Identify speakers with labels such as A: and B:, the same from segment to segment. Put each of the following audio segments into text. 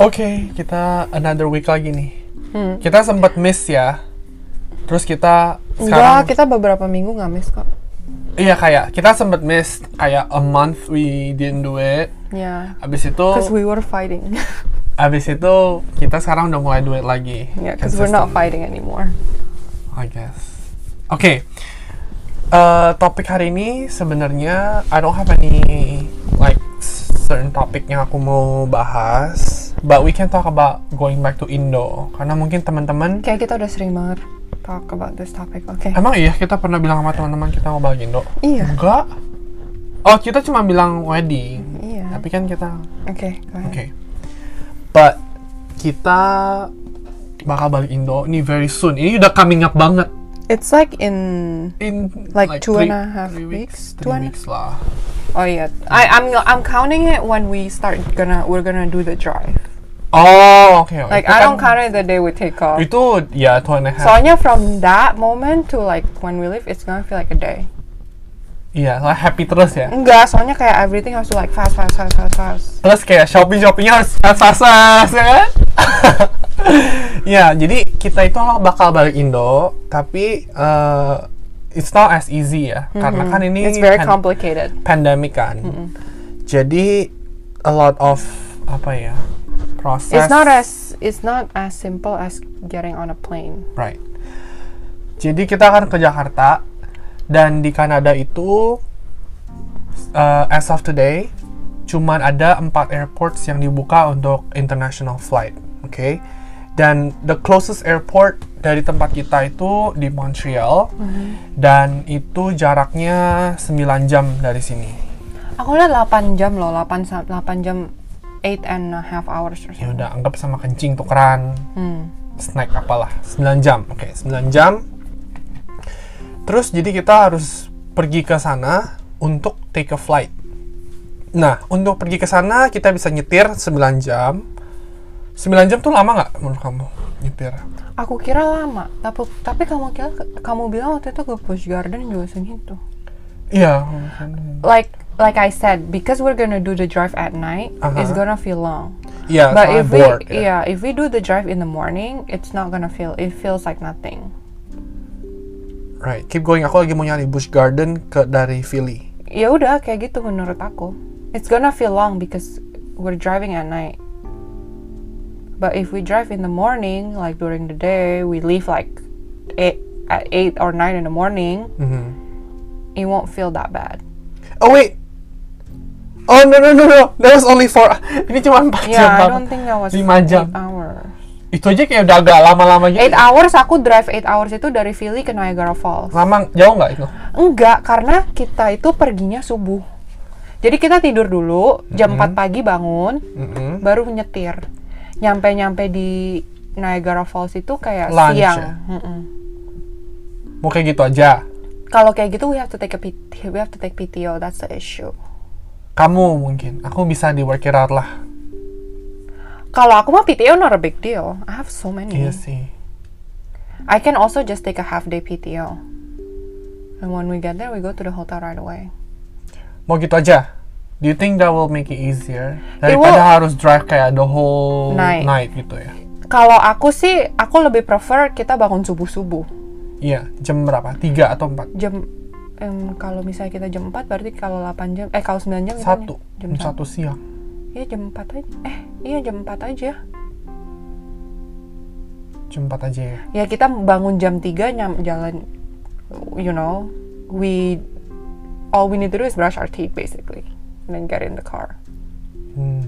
A: Oke, kita another week lagi nih.
B: Hmm.
A: Kita sempat miss ya. Terus kita
B: Enggak,
A: sekarang
B: kita beberapa minggu nggak miss kok.
A: iya kayak kita sempat miss kayak a month we didn't do it.
B: Ya,
A: Abis itu
B: because we were fighting.
A: abis itu kita sekarang udah mulai do it lagi.
B: yeah, because Iya, we're not
A: Consistent,
B: fighting anymore.
A: I guess. Oke. Eh, topik hari ini sebenarnya I don't have any like certain topic yang aku mau bahas, but we can talk about going back to Indo karena mungkin teman-teman
B: Kayak kita udah sering banget talk about this topic. Oke.
A: Emang iya kita pernah bilang sama teman-teman kita mau balik Indo?
B: Iya.
A: Enggak. Oh, kita cuma bilang wedding.
B: Iya.
A: Tapi kan kita
B: Oke. go ahead.
A: oke. But kita bakal balik Indo nih very soon. Ini udah coming up banget.
B: It's like in
A: In
B: Like two
A: three-
B: and a half
A: three
B: weeks, two
A: Three
B: and-
A: weeks lah.
B: oh yeah, I I'm I'm counting it when we start gonna we're gonna do the drive.
A: Oh, oke. oke.
B: Like
A: Itu
B: I don't
A: kan-
B: count it the day we take off.
A: Itu ya two and a half.
B: Soalnya from that moment to like when we leave, it's gonna feel like a day.
A: Iya, lah happy terus ya.
B: Enggak, soalnya kayak everything has to like fast, fast, fast, fast, fast.
A: Terus kayak shopping-shoppingnya harus fast-fast ya kan? ya, jadi kita itu bakal balik Indo, tapi eh, it's not as easy ya, karena kan ini
B: Mm-hmm. It's very
A: pan-
B: Mm-hmm. complicated.
A: pandemic kan. Jadi a lot of apa ya proses.
B: It's not as it's not as simple as getting on a plane.
A: right. Jadi kita akan ke Jakarta dan di Kanada itu eh, as of today cuman ada empat airports yang dibuka untuk international flight, oke? Dan the closest airport dari tempat kita itu di Montreal dan itu jaraknya 9 jam dari sini.
B: Aku lihat 8 jam loh, 8 sa- 8 jam 8 and a half hours or
A: Ya
B: something.
A: udah anggap sama kencing tukeran
B: Hmm.
A: snack apalah 9 jam oke 9 jam terus jadi kita harus pergi ke sana untuk take a flight nah untuk pergi ke sana kita bisa nyetir 9 jam 9 jam tuh lama nggak menurut kamu nyetir
B: Aku kira lama, tapi tapi kamu kira kamu bilang waktu itu ke Busch Garden juga segitu.
A: iya
B: Like like I said, because we're gonna do the drive at night, it's
A: Uh-huh.
B: gonna feel long.
A: iya
B: But
A: soalnya
B: if we iya.
A: bored ya.
B: yeah, if we do the drive in the morning, it's not gonna feel it feels like nothing.
A: right keep going aku lagi mau nyari Busch Garden ke dari Philly
B: ya udah kayak gitu menurut aku it's gonna feel long because we're driving at night but if we drive in the morning like during the day we leave like eight, at 8 or 9 in the morning
A: Mhm.
B: it won't feel that bad
A: oh wait oh no no no no that was only for ini cuma 4 jam
B: yeah I
A: Papa.
B: don't think that was
A: Lima jam.
B: 8 hours
A: itu aja kayak udah agak lama-lama gitu
B: 8 hours aku drive 8 hours itu dari Philly ke Niagara Falls
A: lama jauh nggak itu
B: enggak karena kita itu perginya subuh jadi kita tidur dulu jam 4 pagi bangun
A: Mhm.
B: baru nyetir nyampe nyampe di Niagara Falls itu kayak
A: Lunch
B: siang
A: ya?
B: Mm-mm.
A: mau kayak gitu aja
B: kalau kayak gitu we have to take a PT, we have to take PTO that's the issue
A: kamu mungkin aku bisa di work it out lah
B: Mm-hmm. kalau aku mah PTO not a big deal I have so many
A: iya sih
B: I can also just take a half day PTO and when we get there we go to the hotel right away
A: mau gitu aja do you think that will make it easier
B: It
A: daripada
B: will.
A: harus drive kayak the whole night,
B: Night.
A: gitu ya
B: kalau aku sih aku lebih prefer kita bangun subuh subuh
A: iya jam berapa tiga atau empat
B: jam em, kalau misalnya kita jam 4 berarti kalau 8 jam eh kalau 9 jam kita
A: satu
B: ny-
A: jam
B: jam
A: satu
B: satu
A: siang
B: iya jam 4 aja eh iya jam 4 aja
A: jam empat aja ya
B: ya kita bangun jam 3 nyam jalan you know we all we need to do is brush our teeth basically and then get in the car
A: Hmm.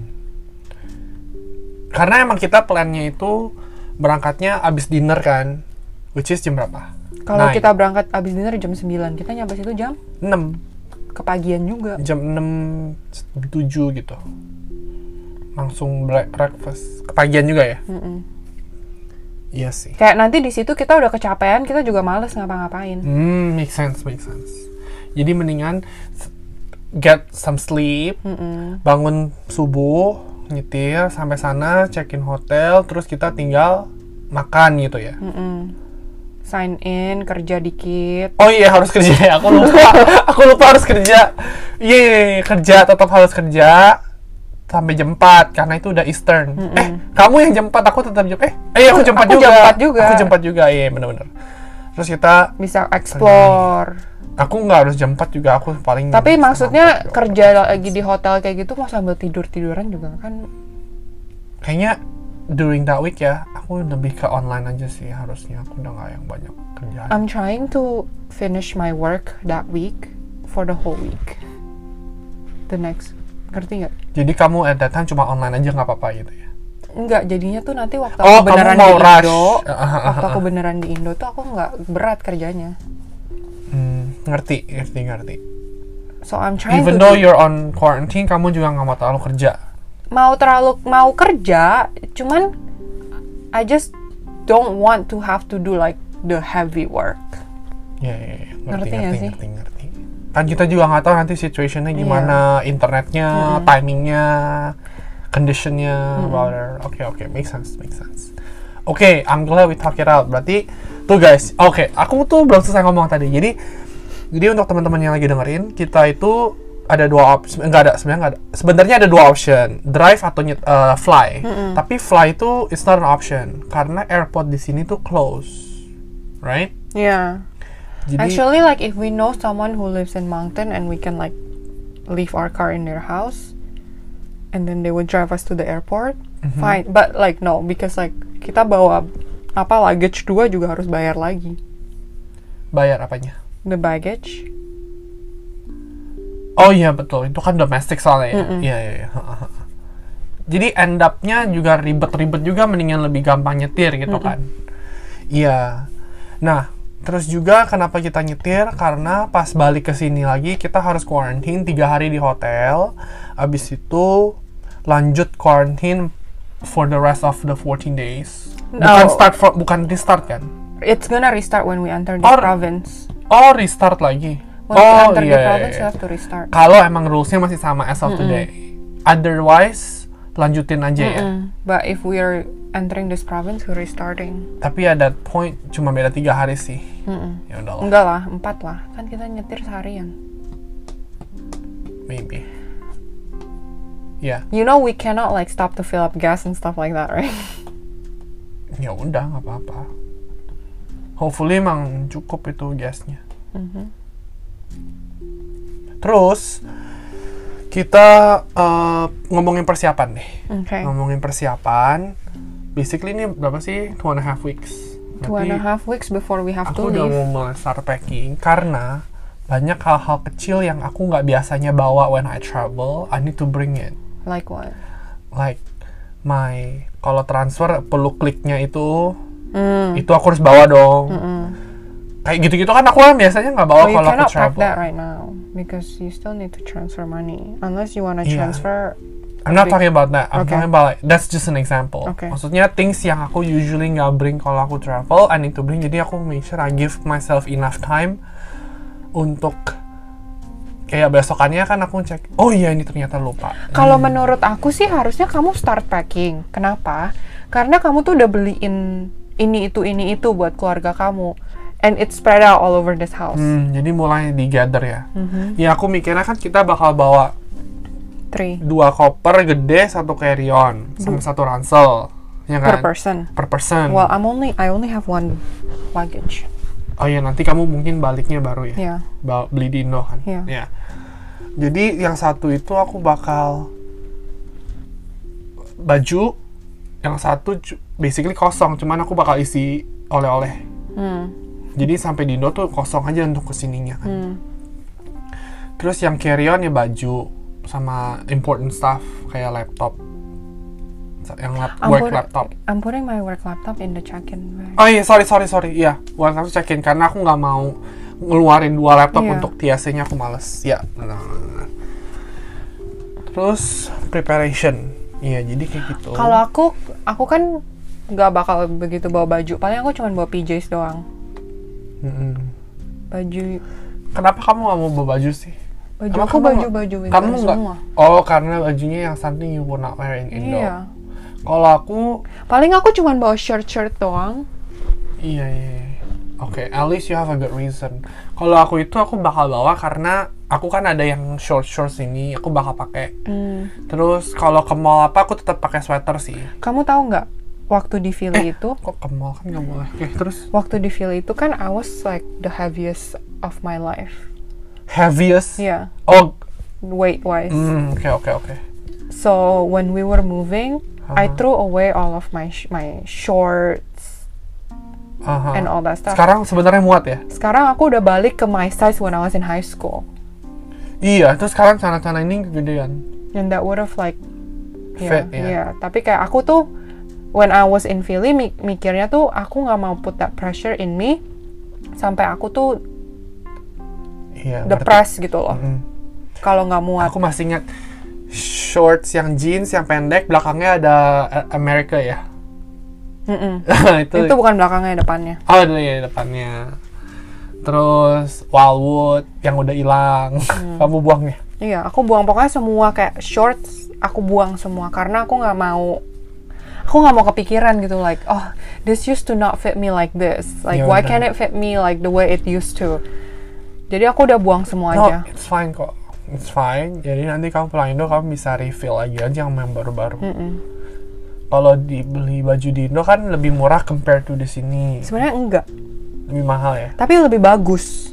A: karena emang kita plannya itu berangkatnya abis dinner kan which is jam berapa
B: kalau
A: Nine.
B: kita berangkat abis dinner jam 9 kita nyampe situ jam
A: 6
B: kepagian juga
A: jam 6 7 gitu langsung black breakfast kepagian juga ya
B: Mm-mm.
A: iya sih
B: kayak nanti di situ kita udah kecapean kita juga males ngapa-ngapain
A: hmm make sense make sense jadi mendingan s- get some sleep
B: Mm-mm.
A: bangun subuh nyetir sampai sana check in hotel terus kita tinggal makan gitu ya
B: Mm-mm. sign in kerja dikit
A: oh iya harus kerja ya aku lupa aku lupa harus kerja iya iya, iya, kerja tetap harus kerja sampai jam 4 karena itu udah Eastern. Eh, kamu yang jam 4, aku tetap jam eh eh aku
B: Aku-
A: jam 4
B: aku
A: juga.
B: jam 4 juga.
A: Aku jam 4 juga. Iya, benar-benar. Terus kita
B: bisa explore.
A: aku nggak harus jam 4 juga, aku paling
B: Tapi
A: setengah
B: maksudnya
A: 4 juga.
B: kerja lagi di hotel kayak gitu mau sambil tidur-tiduran juga kan
A: kayaknya during that week ya, aku lebih ke online aja sih harusnya. Aku udah nggak yang banyak kerjaan.
B: I'm trying to finish my work that week for the whole week. The next ngerti nggak?
A: Jadi kamu at that time cuma online aja nggak apa-apa gitu ya.
B: Nggak jadinya tuh nanti waktu
A: Oh, kamu
B: aku beneran
A: mau
B: di
A: rush.
B: Indo,
A: Ah, ah, ah,
B: waktu
A: ah.
B: aku beneran di Indo tuh aku nggak berat kerjanya.
A: Hmm, ngerti, ngerti, ngerti.
B: So I'm trying
A: Even
B: to
A: though
B: do-
A: you're on quarantine, kamu juga nggak mau terlalu kerja.
B: mau terlalu mau kerja, cuman I just don't want to have to do like the heavy work.
A: Ya, ya, ya. ngerti,
B: Ngerti nggak
A: ngerti,
B: sih? Iya.
A: ngerti, ngerti. Kan kita juga nggak tahu nanti situationnya gimana, internetnya, timingnya, conditionnya,
B: Hmm.
A: router. Oke, oke, make sense, make sense. Oke, I'm glad we talk it out. Berarti tuh guys, oke, aku tuh belum selesai ngomong tadi. Jadi, jadi untuk teman-teman yang lagi dengerin, kita itu ada dua opsi, enggak ada sebenarnya nggak ada. Sebenarnya ada dua option, drive atau nyet- eh, fly. Tapi fly itu it's not an option karena airport di sini tuh close, right?
B: Yeah.
A: Jadi,
B: Actually, like if we know someone who lives in mountain and we can like leave our car in their house, and then they would drive us to the airport,
A: Mm-hmm.
B: fine. But like no, because like kita bawa apa luggage dua juga harus bayar lagi.
A: bayar apanya?
B: The baggage.
A: Oh iya betul, itu kan domestic soalnya ya. Iya iya iya. Jadi end up-nya juga ribet-ribet juga mendingan lebih gampang nyetir gitu kan. Iya. Nah, terus juga kenapa kita nyetir? Karena pas balik ke sini lagi kita harus quarantine tiga hari di hotel. Abis itu lanjut quarantine for the rest of the 14 days. Bukan
B: No.
A: start from, bukan restart kan?
B: It's gonna restart when we enter the
A: Or-
B: province.
A: Oh, restart lagi.
B: When we
A: oh
B: enter
A: iya,
B: the
A: iya,
B: province,
A: iya.
B: you have to restart.
A: kalau emang rulesnya masih sama as of today. Otherwise lanjutin aja ya.
B: Mm. But if we are entering this province, we're restarting.
A: Tapi at that point cuma beda tiga hari sih.
B: Mm-mm.
A: Ya udahlah,
B: Enggak lah, empat lah. Kan kita nyetir seharian.
A: maybe. Ya,
B: You know we cannot like stop to fill up gas and stuff like that, right?
A: ya udah nggak apa-apa. Hopefully emang cukup itu gasnya. Mm-hmm. Terus kita eh, ngomongin persiapan deh.
B: Okay.
A: Ngomongin persiapan. Basically ini berapa sih? Two and a half weeks.
B: two and a
A: Berarti-
B: half weeks before we have to
A: aku udah
B: leave.
A: mau mulai start packing karena banyak hal-hal kecil yang aku nggak biasanya bawa when I travel. I need to bring it.
B: Like what?
A: Like my kalau transfer perlu kliknya itu,
B: Mm.
A: itu aku harus bawa dong. Kayak gitu-gitu kan aku kan biasanya nggak bawa
B: Well, Hmm. Oh, you
A: kalau aku
B: cannot pack
A: travel.
B: that right now because you still need to transfer money unless you want to
A: Iya.
B: transfer.
A: I'm not talking about that. I'm
B: Okay.
A: talking about like, that's just an example.
B: Okay.
A: Maksudnya things yang aku usually nggak bring kalau aku travel, I need to bring. Jadi aku make sure I give myself enough time untuk kayak besokannya kan aku cek. Oh iya ini ternyata lupa.
B: Kalau
A: Iya.
B: menurut aku sih harusnya kamu start packing. Kenapa? Karena kamu tuh udah beliin ini itu ini itu buat keluarga kamu, and it's spread out all over this house.
A: Hmm, jadi mulai di gather ya.
B: Mm-hmm.
A: Ya aku mikirnya kan kita bakal bawa
B: Three
A: dua koper gede, satu carry on, sama satu ransel, ya
B: per
A: kan? Hmm.
B: person.
A: Per person.
B: Well, I'm only I only have one luggage.
A: Oh iya nanti kamu mungkin baliknya baru ya.
B: Yeah.
A: Ba- beli di Indo kan.
B: Iya.
A: Iya. Jadi yang satu itu aku bakal baju, yang satu cu- basically kosong, cuman aku bakal isi oleh-oleh. Jadi sampai di Indo tuh kosong aja untuk kesininya kan. Terus yang carry on ya baju sama important stuff kayak laptop, yang lap-
B: I'm
A: work
B: put-
A: laptop.
B: I'm putting my work laptop in the check-in bag.
A: Oh iya, sorry, sorry, sorry. Iya, bukan kamu cekin karena aku nggak mau ngeluarin dua laptop
B: Iya.
A: untuk TSC-nya aku males. Ya. benar, benar, benar. Terus preparation. Iya, jadi kayak gitu.
B: Kalau aku, aku kan nggak bakal begitu bawa baju. Paling aku cuma bawa PJs doang.
A: Mm-mm.
B: Baju,
A: Kenapa kamu nggak mau bawa baju sih?
B: baju
A: Emang
B: aku
A: kamu
B: baju
A: nggak-
B: baju winter
A: Kamu nggak?
B: semua.
A: Oh, karena bajunya yang something you would not wear in Indo.
B: Iya.
A: Kalau aku,
B: Paling aku cuma bawa shirt shirt doang.
A: iya, iya. iya. Oke, at least you have a good reason. Kalau aku itu aku bakal bawa karena aku kan ada yang short shorts ini aku bakal pakai Hmm. terus kalau ke mall apa aku tetap pakai sweater sih
B: Kamu tahu nggak waktu di
A: Eh.
B: Philly itu,
A: kok ke mall kan nggak boleh oke terus
B: waktu di Philly itu kan I was like the heaviest of my life. Iya.
A: heaviest
B: Yeah,
A: oh
B: weight wise.
A: mm, oke oke oke
B: So when we were moving,
A: Uh-huh.
B: I threw away all of my sh- my shorts
A: Aha.
B: and all that stuff.
A: sekarang sebenarnya muat ya
B: Sekarang aku udah balik ke my size when I was in high school,
A: iya terus sekarang celana-celana ini kegedean
B: and that would have like
A: Fit,
B: yeah, yeah.
A: ya.
B: Tapi kayak aku tuh when I was in Philly mi- mikirnya tuh aku nggak mau put that pressure in me sampai aku tuh
A: iya berarti-
B: depressed gitu loh.
A: Mm.
B: Kalau nggak muat.
A: aku masih ingat shorts yang jeans yang pendek belakangnya ada eh, America ya
B: Mm-mm.
A: itu,
B: Itu bukan belakangnya depannya.
A: oh ada ya depannya terus Wildwood yang udah hilang kamu buang ya
B: Iya, aku buang pokoknya semua kayak shorts, aku buang semua karena aku nggak mau aku nggak mau kepikiran gitu like oh this used to not fit me like this like
A: Ya
B: why
A: udah.
B: can't it fit me like the way it used to jadi aku udah buang semua
A: no
B: aja
A: it's fine kok it's fine jadi nanti kamu pulang Indo kamu bisa refill lagi aja yang yang baru-baru kalau dibeli baju di Indo kan lebih murah compared to di sini
B: sebenarnya enggak
A: lebih mahal ya
B: tapi lebih bagus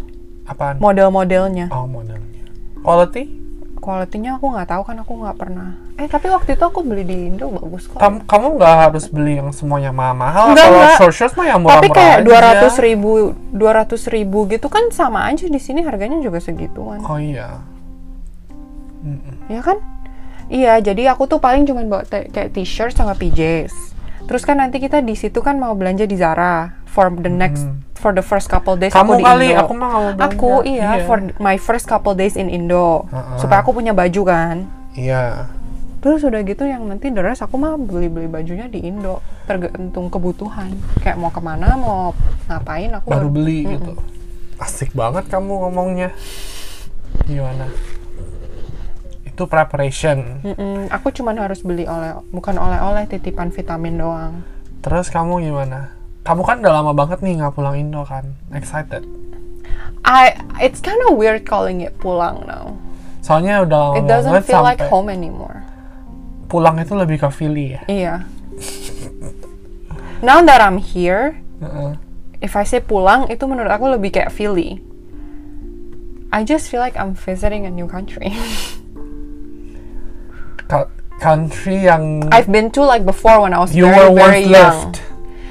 A: apaan
B: model-modelnya
A: oh modelnya quality
B: kualitinya aku nggak tahu kan aku nggak pernah eh tapi waktu itu aku beli di Indo bagus kok
A: Kam- kamu nggak harus beli yang semuanya mahal
B: Nggak,
A: kalau
B: nggak.
A: short shorts mah yang murah-murah
B: tapi kayak dua
A: aja.
B: ratus ribu dua ribu gitu kan sama aja di sini harganya juga segituan
A: oh iya
B: ya kan? Iya, jadi aku tuh paling cuman bawa te- kayak t-shirt sama PJs. Terus kan nanti kita di situ kan mau belanja di Zara for the next for the first couple days
A: Hmm. kamu
B: aku di
A: kali
B: Indo.
A: aku mah nggak mau belanja.
B: Aku, iya, for my first couple days in Indo.
A: Heeh.
B: Supaya aku punya baju kan.
A: iya
B: Terus udah gitu yang nanti the rest aku mah beli-beli bajunya di Indo tergantung kebutuhan. Kayak mau kemana, mau ngapain aku
A: baru
B: baru-
A: beli gitu asik banget kamu ngomongnya gimana itu preparation
B: Mm-mm, aku cuman harus beli oleh bukan oleh-oleh titipan vitamin doang.
A: terus kamu gimana kamu kan udah lama banget nih nggak pulang Indo kan excited
B: I it's kind of weird calling it pulang now.
A: soalnya udah lama
B: It doesn't
A: banget
B: feel like
A: sampai
B: home anymore.
A: pulang itu lebih ke Philly ya
B: Iya. Now that I'm here,
A: Heeh.
B: if I say pulang itu menurut aku lebih kayak Philly. I just feel like I'm visiting a new country.
A: Ka- country yang
B: I've been to like before when I was
A: you
B: very
A: were once
B: very young.
A: left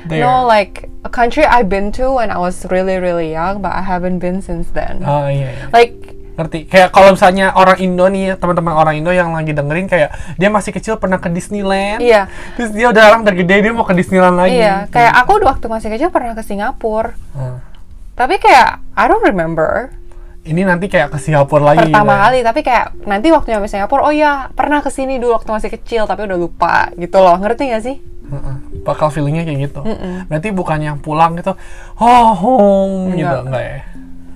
A: there
B: No, like a country I've been to when I was really really young, but I haven't been since then.
A: Ah, iya, iya.
B: Like
A: ngerti kayak kalau misalnya orang Indo nih teman-teman orang Indo yang lagi dengerin kayak dia masih kecil pernah ke Disneyland
B: iya,
A: terus dia udah orang udah gede dia mau ke Disneyland lagi
B: iya. Kayak aku waktu masih kecil pernah ke Singapura,
A: Hmm.
B: tapi kayak I don't remember.
A: ini nanti kayak ke Singapura lagi gitu ya.
B: pertama kali tapi kayak nanti waktu nyampe Singapura oh ya pernah kesini dulu waktu masih kecil tapi udah lupa gitu loh ngerti gak sih
A: Heeh. bakal feelingnya kayak gitu berarti bukan yang pulang gitu oh home gitu
B: Enggak.
A: enggak ya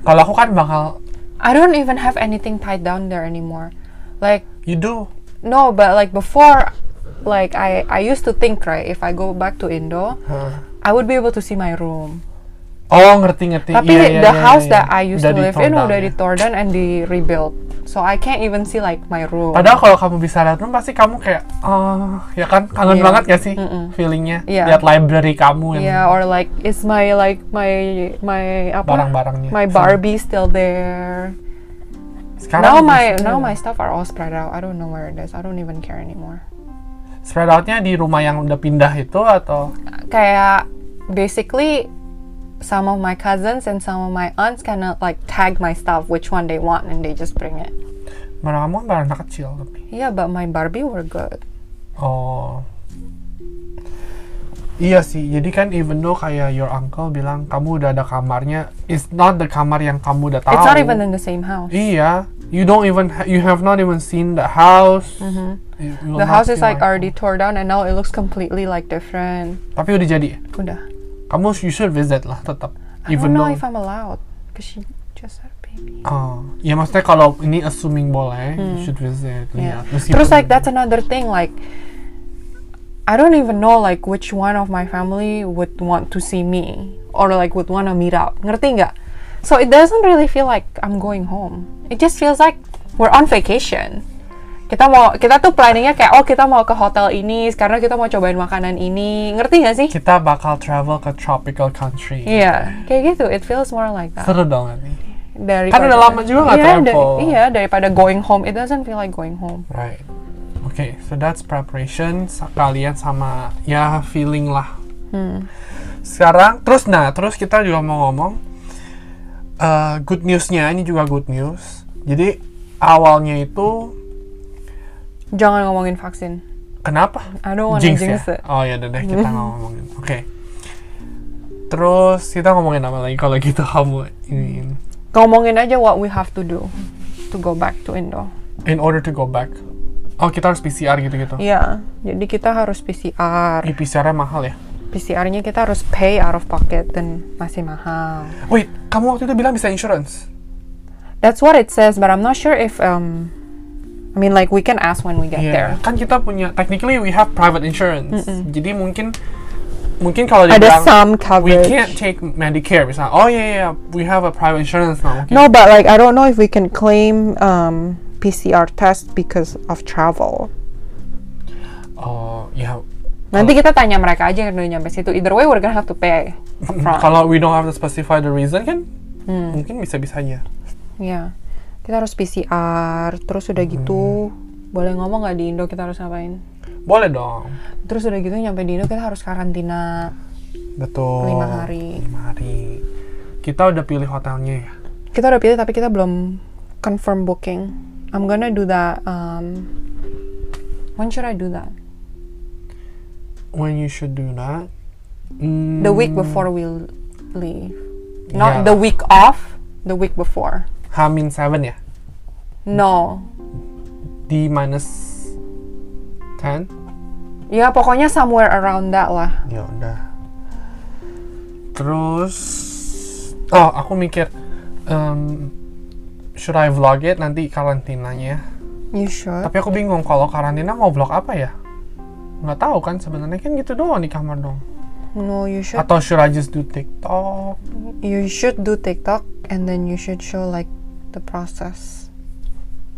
A: kalau aku kan bakal
B: I don't even have anything tied down there anymore like
A: you do
B: no but like before like I I used to think right if I go back to Indo
A: Heeh.
B: I would be able to see my room
A: oh ngerti ngerti
B: tapi
A: Iya, iya,
B: the
A: iya,
B: house
A: iya.
B: that I used
A: Udah
B: to live
A: di-torn
B: in
A: down
B: udah
A: ya.
B: di torn down and di rebuild so I can't even see like my room
A: Padahal kalau kamu bisa lihat room pasti kamu kayak, oh, ya kan kangen
B: Iya.
A: banget gak sih feelingnya
B: Iya.
A: lihat library kamu yang
B: yeah or like is my like my my apa
A: barang-barangnya.
B: my Barbie still there
A: Sekarang
B: Now my
A: biasanya
B: now my stuff are all spread out. I don't know where it is. I don't even care anymore.
A: spread outnya di rumah yang udah pindah itu atau
B: Kayak basically some of my cousins and some of my aunts kind of like tag my stuff which one they want and they just bring it.
A: mana kamu kan barang anak kecil tapi.
B: Yeah, but my Barbie were good.
A: Oh. Iya sih, jadi kan even though kayak your uncle bilang kamu udah ada kamarnya, it's not the kamar yang kamu udah tahu.
B: It's not even in the same house.
A: Iya, you don't even ha- you have not even seen the house. You- you will
B: Mm-hmm. The
A: not
B: house is
A: feel
B: like already tore down and now it looks completely like different.
A: Tapi udah jadi. ya?
B: Udah.
A: Kamu you should visit lah tetap.
B: I don't
A: Even
B: know
A: though
B: if I'm allowed because she just had a baby.
A: Oh, ya maksudnya kalau ini assuming boleh, you should visit.
B: Hmm. Yeah.
A: lihat. Meskipun-
B: Terus like that's another thing like I don't even know like which one of my family would want to see me or like would want to meet up. Ngerti nggak? So it doesn't really feel like I'm going home. It just feels like we're on vacation. Kita mau kita tuh planningnya kayak oh kita mau ke hotel ini karena kita mau cobain makanan ini. Ngerti gak sih?
A: Kita bakal travel ke tropical country.
B: Iya, kayak gitu. It feels more like that.
A: Seru dong nanti.
B: Dari
A: Kan udah lama juga nggak
B: iya, dari-
A: travel.
B: iya, daripada going home, it doesn't feel like going home.
A: Right. Okay, so that's preparation sa- kalian sama ya feeling lah. Sekarang terus nah terus kita juga mau ngomong eh, good newsnya ini juga good news. Jadi awalnya itu
B: Jangan ngomongin vaksin.
A: kenapa?
B: I don't wanna
A: Jinx,
B: jinx,
A: ya?
B: it.
A: Oh ya udah deh kita nggak ngomongin. Oke. Terus kita ngomongin apa lagi kalau gitu kamu ini, ini.
B: Ngomongin aja what we have to do to go back to Indo.
A: in order to go back. Oh kita harus PCR gitu-gitu.
B: Iya, jadi kita harus PCR.
A: Ih, PCR-nya mahal ya.
B: PCR-nya kita harus pay out of pocket dan masih mahal.
A: Wait, kamu waktu itu bilang bisa insurance.
B: That's what it says, but I'm not sure if um I mean like we can ask when we get there.
A: Iya, Kan kita punya technically we have private insurance. Jadi mungkin mungkin kalau dia
B: Ada
A: bilang
B: some
A: we
B: coverage.
A: can't take Medicare misalnya. Oh iya iya, we have a private insurance nah, now.
B: No, but like I don't know if we can claim um PCR test because of travel.
A: Oh ya.
B: Nanti kita tanya mereka aja yang udah nyampe situ. Either way we're gonna have to pay upfront.
A: Kalau we don't have to specify the reason kan,
B: Hmm.
A: mungkin bisa bisanya.
B: Iya. Kita harus PCR, terus udah gitu boleh ngomong nggak di Indo kita harus ngapain?
A: Boleh dong.
B: Terus udah gitu nyampe di Indo kita harus karantina.
A: Betul.
B: Lima hari.
A: Lima hari. Kita udah pilih hotelnya ya.
B: kita udah pilih tapi kita belum confirm booking. I'm gonna do that. Um, when should I do that?
A: When you should do that.
B: The week
A: hmm,
B: before we l- leave, not
A: Yeah.
B: the week off. The week before.
A: hmm, ya, Hamin 7 ya.
B: No.
A: D minus 10. Mm.
B: Ya pokoknya somewhere around that lah.
A: ya udah terus oh aku mikir em, should I vlog it nanti karantinanya ya.
B: You should.
A: tapi aku bingung kalau karantina mau vlog apa ya nggak tahu kan sebenarnya kan gitu doang di kamar dong
B: No, you should.
A: atau should I just do TikTok
B: You should do TikTok and then you should show like the process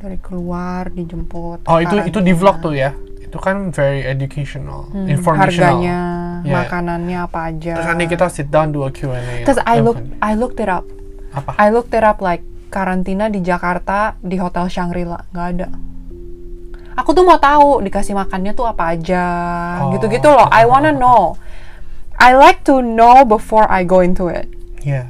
B: dari keluar dijemput.
A: oh itu itu di
B: karantina,
A: vlog tuh ya itu kan very educational informational
B: Hmm, Harganya,
A: Yeah.
B: makanannya apa aja.
A: terus nanti kita sit down do a Q&A
B: Because
A: Eh,
B: I look,
A: bukan.
B: I looked it up.
A: apa
B: I looked it up like karantina di Jakarta di hotel Shangri-La nggak ada. Aku tuh mau tahu dikasih makannya tuh apa aja,
A: Oh.
B: gitu-gitu loh. I wanna know. I like to know before I go into it.
A: Ya.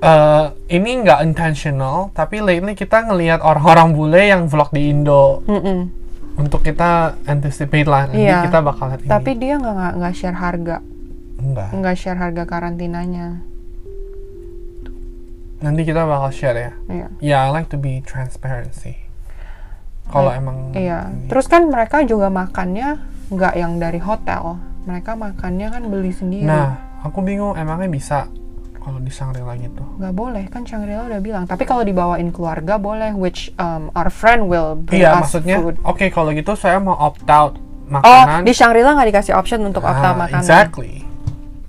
A: Eh, ini nggak intentional, tapi lately kita ngelihat orang-orang bule yang vlog di Indo.
B: Mm-mm.
A: Untuk kita anticipate lah, nanti
B: Iya.
A: kita bakal lihat ini.
B: Tapi dia nggak nggak- nggak share harga,
A: Enggak.
B: nggak share harga karantinanya.
A: Nanti kita bakal share ya.
B: Iya.
A: Ya, I like to be transparency. Kalau emang
B: Iya. Terus kan mereka juga makannya nggak yang dari hotel. Mereka makannya kan beli sendiri.
A: Nah, aku bingung emangnya bisa kalau di Shangri-La gitu.
B: nggak boleh kan Shangri-La udah bilang tapi kalau dibawain keluarga boleh which um, our friend will bring
A: Iya,
B: us
A: maksudnya.
B: food
A: Oke, kalau gitu saya mau opt out
B: oh
A: makanan.
B: di Shangri-La nggak dikasih option untuk opt
A: Ah,
B: out makanan
A: Exactly.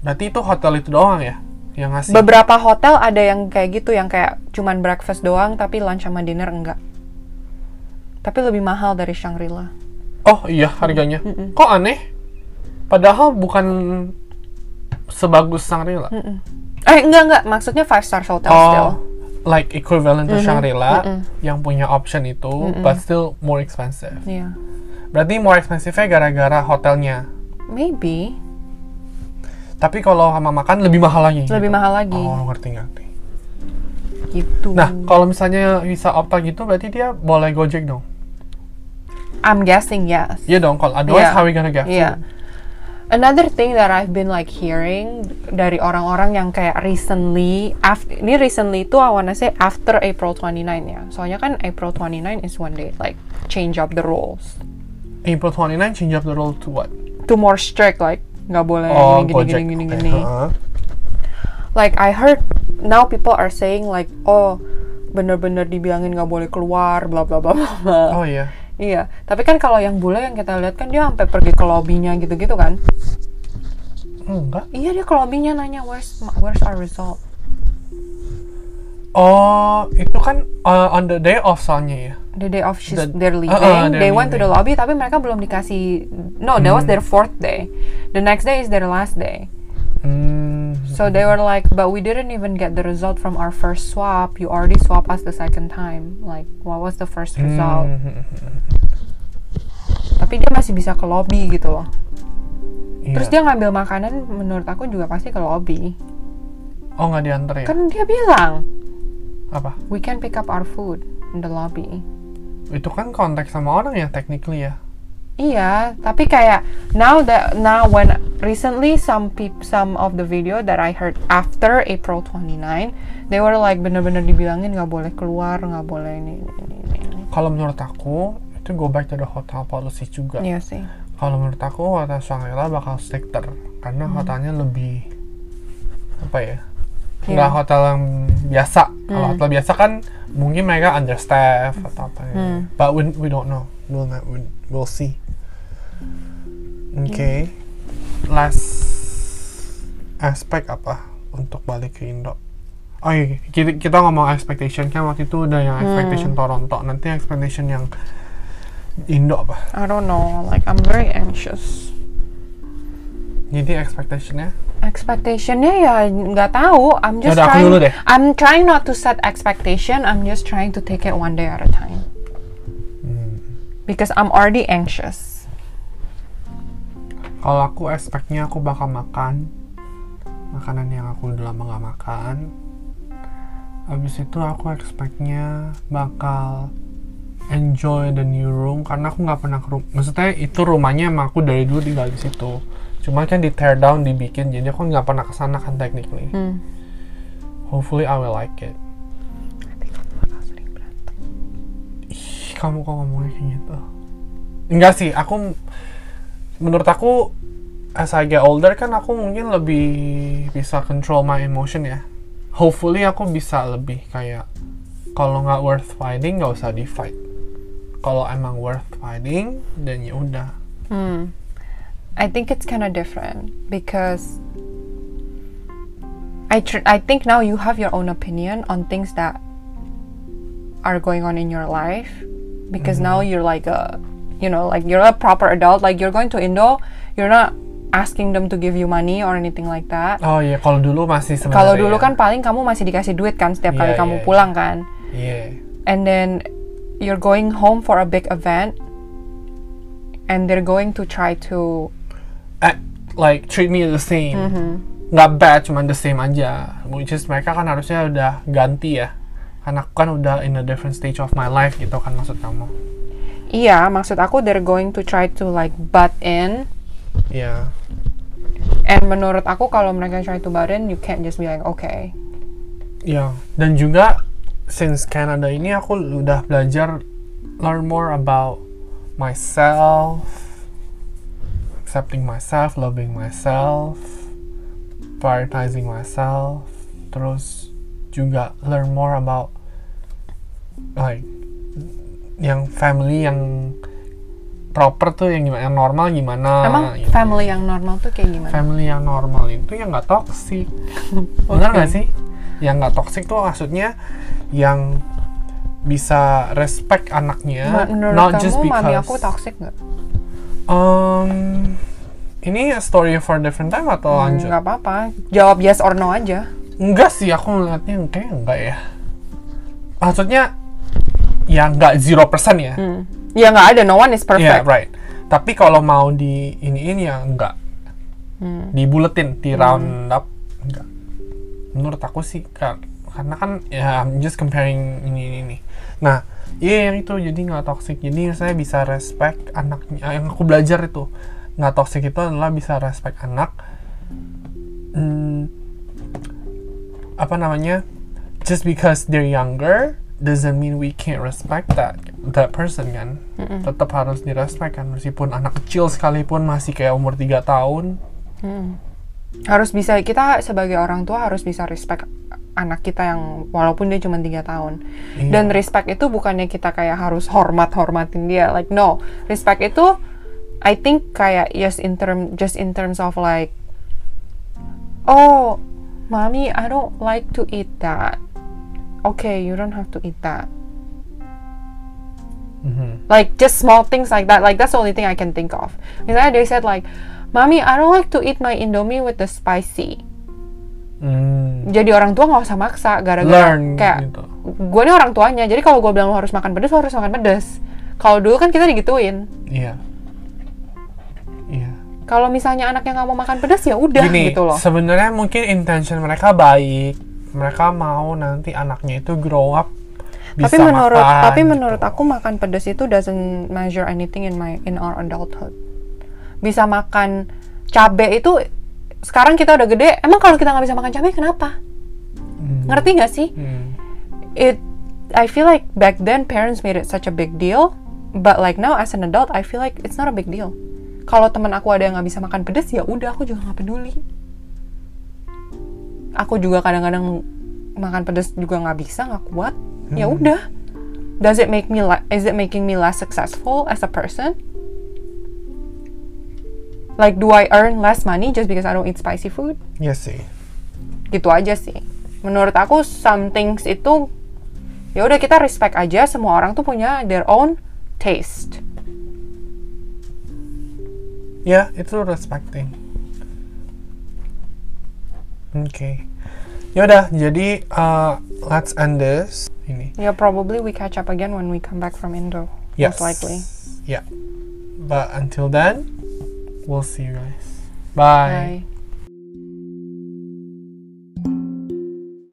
A: Berarti itu hotel itu doang ya yang ngasih.
B: beberapa hotel ada yang kayak gitu yang kayak cuman breakfast doang tapi lunch sama dinner enggak tapi lebih mahal dari Shangri-La
A: Oh iya harganya. Kok aneh? Padahal bukan sebagus Shangri-La.
B: eh enggak enggak maksudnya five star hotel still Mm-hmm.
A: Oh, like equivalent to Shangri-La yang punya option itu, but still more expensive.
B: Iya.
A: Berarti more expensive-nya gara-gara hotelnya.
B: maybe
A: Tapi kalau sama makan lebih mahal lagi.
B: Lebih mahal lagi.
A: Oh, ngerti ngerti.
B: gitu
A: Nah, kalau misalnya bisa opt out gitu berarti dia boleh Gojek dong.
B: I'm guessing yes
A: Iya dong, kalau otherwise
B: Iya.
A: how we gonna get?
B: Yeah. Another thing that I've been like hearing dari orang-orang yang kayak recently, af- ini recently itu I wanna say after April 29 ya. Soalnya kan April 29 is when they like change up the rules
A: April 29 change up the rule to what?
B: to more strict like nggak boleh
A: Oh,
B: Eh, gini
A: Gojek. Uh-huh.
B: gini gini gini.
A: Oke,
B: gini.
A: heeh.
B: Like I heard now people are saying like oh bener-bener dibilangin nggak boleh keluar bla bla bla bla. bla.
A: Oh iya.
B: Iya, tapi kan kalau yang bule yang kita lihat kan dia sampai pergi ke lobbynya gitu-gitu kan.
A: Enggak. Hmm,
B: Iya dia ke lobbynya nanya where's where's our result.
A: Oh, itu kan uh, on the day off soalnya ya.
B: the day off she's
A: The-
B: they're leaving
A: uh-uh, they're
B: they went to the
A: leaving.
B: lobby tapi mereka belum dikasih no that was their fourth day the next day is their last day
A: Hmm.
B: so they were like but we didn't even get the result from our first swap you already swapped us the second time like what was the first result
A: Hmm,
B: tapi dia masih bisa ke lobby gitu loh
A: iya.
B: terus dia ngambil makanan menurut aku juga pasti ke lobby
A: Oh nggak diantar ya?
B: kan dia bilang
A: Apa?
B: we can pick up our food in the lobby
A: Itu kan kontak sama orang ya technically ya.
B: Iya, tapi kayak now that now when recently some peop, some of the video that I heard after April 29, they were like bener-bener dibilangin nggak boleh keluar, nggak boleh ini ini ini. ini.
A: Kalau menurut aku itu go back to the hotel policy juga.
B: Iya sih.
A: Kalau menurut aku hotel Shangri-La bakal stricter karena hotelnya lebih apa ya?
B: Iya.
A: Nggak hotel yang biasa. Kalau hotel biasa kan mungkin mereka understaff atau apa ya. But we, we don't know. We'll not- we- we'll see. Oke. Last aspek apa untuk balik ke Indo? Oh iya, kita, kita ngomong expectation kan waktu itu udah yang expectation Toronto. Nanti expectation yang Indo apa?
B: I don't know, like I'm very anxious.
A: Jadi expectationnya
B: Expectationnya ya nggak tahu. I'm just
A: Yaudah, aku
B: trying.
A: dulu deh.
B: I'm trying not to set expectation. I'm just trying to take it one day at a time. Because I'm already anxious.
A: kalau aku expectnya aku bakal makan makanan yang aku udah lama gak makan. Abis itu aku expectnya bakal enjoy the new room karena aku nggak pernah ke rum- maksudnya itu rumahnya emang aku dari dulu tinggal di situ. Cuman kan di tear down dibikin jadi aku nggak pernah kesana kan technically.
B: Hmm.
A: Hopefully I will like it.
B: Bakal sering berantem.
A: Ih, kamu kok ngomongnya kayak gitu enggak sih aku menurut aku as I get older kan aku mungkin lebih bisa control my emotion ya hopefully aku bisa lebih kayak kalau nggak worth fighting nggak usah di fight kalau emang worth fighting dan ya udah
B: Hmm. I think it's kind of different because I tr- I think now you have your own opinion on things that are going on in your life because now you're like a you know like you're a proper adult like you're going to Indo you're not asking them to give you money or anything like that.
A: oh iya kalau dulu masih sebenarnya
B: Kalau dulu
A: ya.
B: kan paling kamu masih dikasih duit kan setiap kali
A: Iya,
B: kamu
A: iya, iya.
B: pulang kan
A: iya
B: and then you're going home for a big event and they're going to try to
A: Eh, like treat me the same nggak bad cuman the same aja which is mereka kan harusnya udah ganti ya karena aku kan udah in a different stage of my life gitu kan maksud kamu
B: Iya, maksud aku they're going to try to like butt in.
A: Iya
B: And menurut aku kalau mereka try to butt in, you can't just be like, okay.
A: Iya dan juga since Canada ini aku udah belajar learn more about myself accepting myself loving myself prioritizing myself terus juga learn more about like yang family yang proper tuh yang gimana yang normal gimana
B: Emang
A: gitu.
B: family yang normal tuh kayak gimana?
A: family yang normal itu yang nggak toksik benar nggak
B: Oke.
A: sih yang nggak toksik tuh maksudnya yang bisa respect anaknya
B: Ma- Menurut
A: not
B: kamu
A: just because
B: mami aku toxic nggak?
A: Um, ini story for different time atau Oh, lanjut
B: Hmm, Nggak apa-apa. Jawab yes or no aja.
A: enggak sih aku melihatnya kayak enggak ya maksudnya ya nggak 0% ya
B: Ya nggak ada. No one is
A: Iya,
B: perfect.
A: right. Tapi kalau mau di ini ini ya enggak.
B: Hmm.
A: Dibuletin di round up enggak. Menurut aku sih ka- karena kan ya I'm just comparing ini ini ini. Nah, iya yang itu jadi nggak toxic. Jadi saya bisa respect anaknya. eh, Yang aku belajar itu nggak toxic itu adalah bisa respect anak. Hmm, apa namanya? Just because they're younger doesn't mean we can't respect that that person kan tetap harus direspek kan meskipun anak kecil sekalipun masih kayak umur 3 tahun
B: Harus bisa kita sebagai orang tua harus bisa respect anak kita yang walaupun dia cuma tiga tahun.
A: Iya.
B: Dan respect itu bukannya kita kayak harus hormat hormatin dia. Like no, respect itu I think kayak yes in term just in terms of like oh mommy I don't like to eat that okay, you don't have to eat that.
A: Mhm.
B: Like just small things like that. Like that's the only thing I can think of. Because I- they said like, "Mommy, I don't like to eat my Indomie with the spicy."
A: Mm.
B: Jadi orang tua nggak usah maksa gara-gara
A: Learn
B: kayak
A: gitu.
B: gue nih orang tuanya. Jadi kalau gue bilang lo harus makan pedes, lo harus makan pedes. Kalau dulu kan kita digituin.
A: Iya. Iya.
B: Kalau misalnya anaknya nggak mau makan pedas ya udah
A: Gini,
B: gitu loh.
A: sebenarnya mungkin intention mereka baik. Mereka mau nanti anaknya itu grow up bisa
B: tapi menurut
A: makan,
B: tapi
A: gitu.
B: menurut aku makan pedas itu doesn't measure anything in my in our adulthood bisa makan cabe itu sekarang kita udah gede emang kalau kita nggak bisa makan cabe kenapa
A: Hmm.
B: ngerti nggak sih
A: Hmm.
B: it I feel like back then parents made it such a big deal but like now as an adult I feel like it's not a big deal kalau teman aku ada yang nggak bisa makan pedas ya udah aku juga nggak peduli aku juga kadang-kadang makan pedas juga nggak bisa nggak kuat ya udah does it make me le- is it making me less successful as a person like do I earn less money just because I don't eat spicy food
A: Iya sih.
B: gitu aja sih menurut aku some things itu ya udah kita respect aja semua orang tuh punya their own taste
A: Ya, itu respecting. Oke. Yaudah, jadi uh, let's end this. Ini.
B: yeah Ya, probably we catch up again when we come back from Indo
A: Yes.
B: most likely
A: Yeah. But until then, we'll see you guys. Bye.
B: Bye.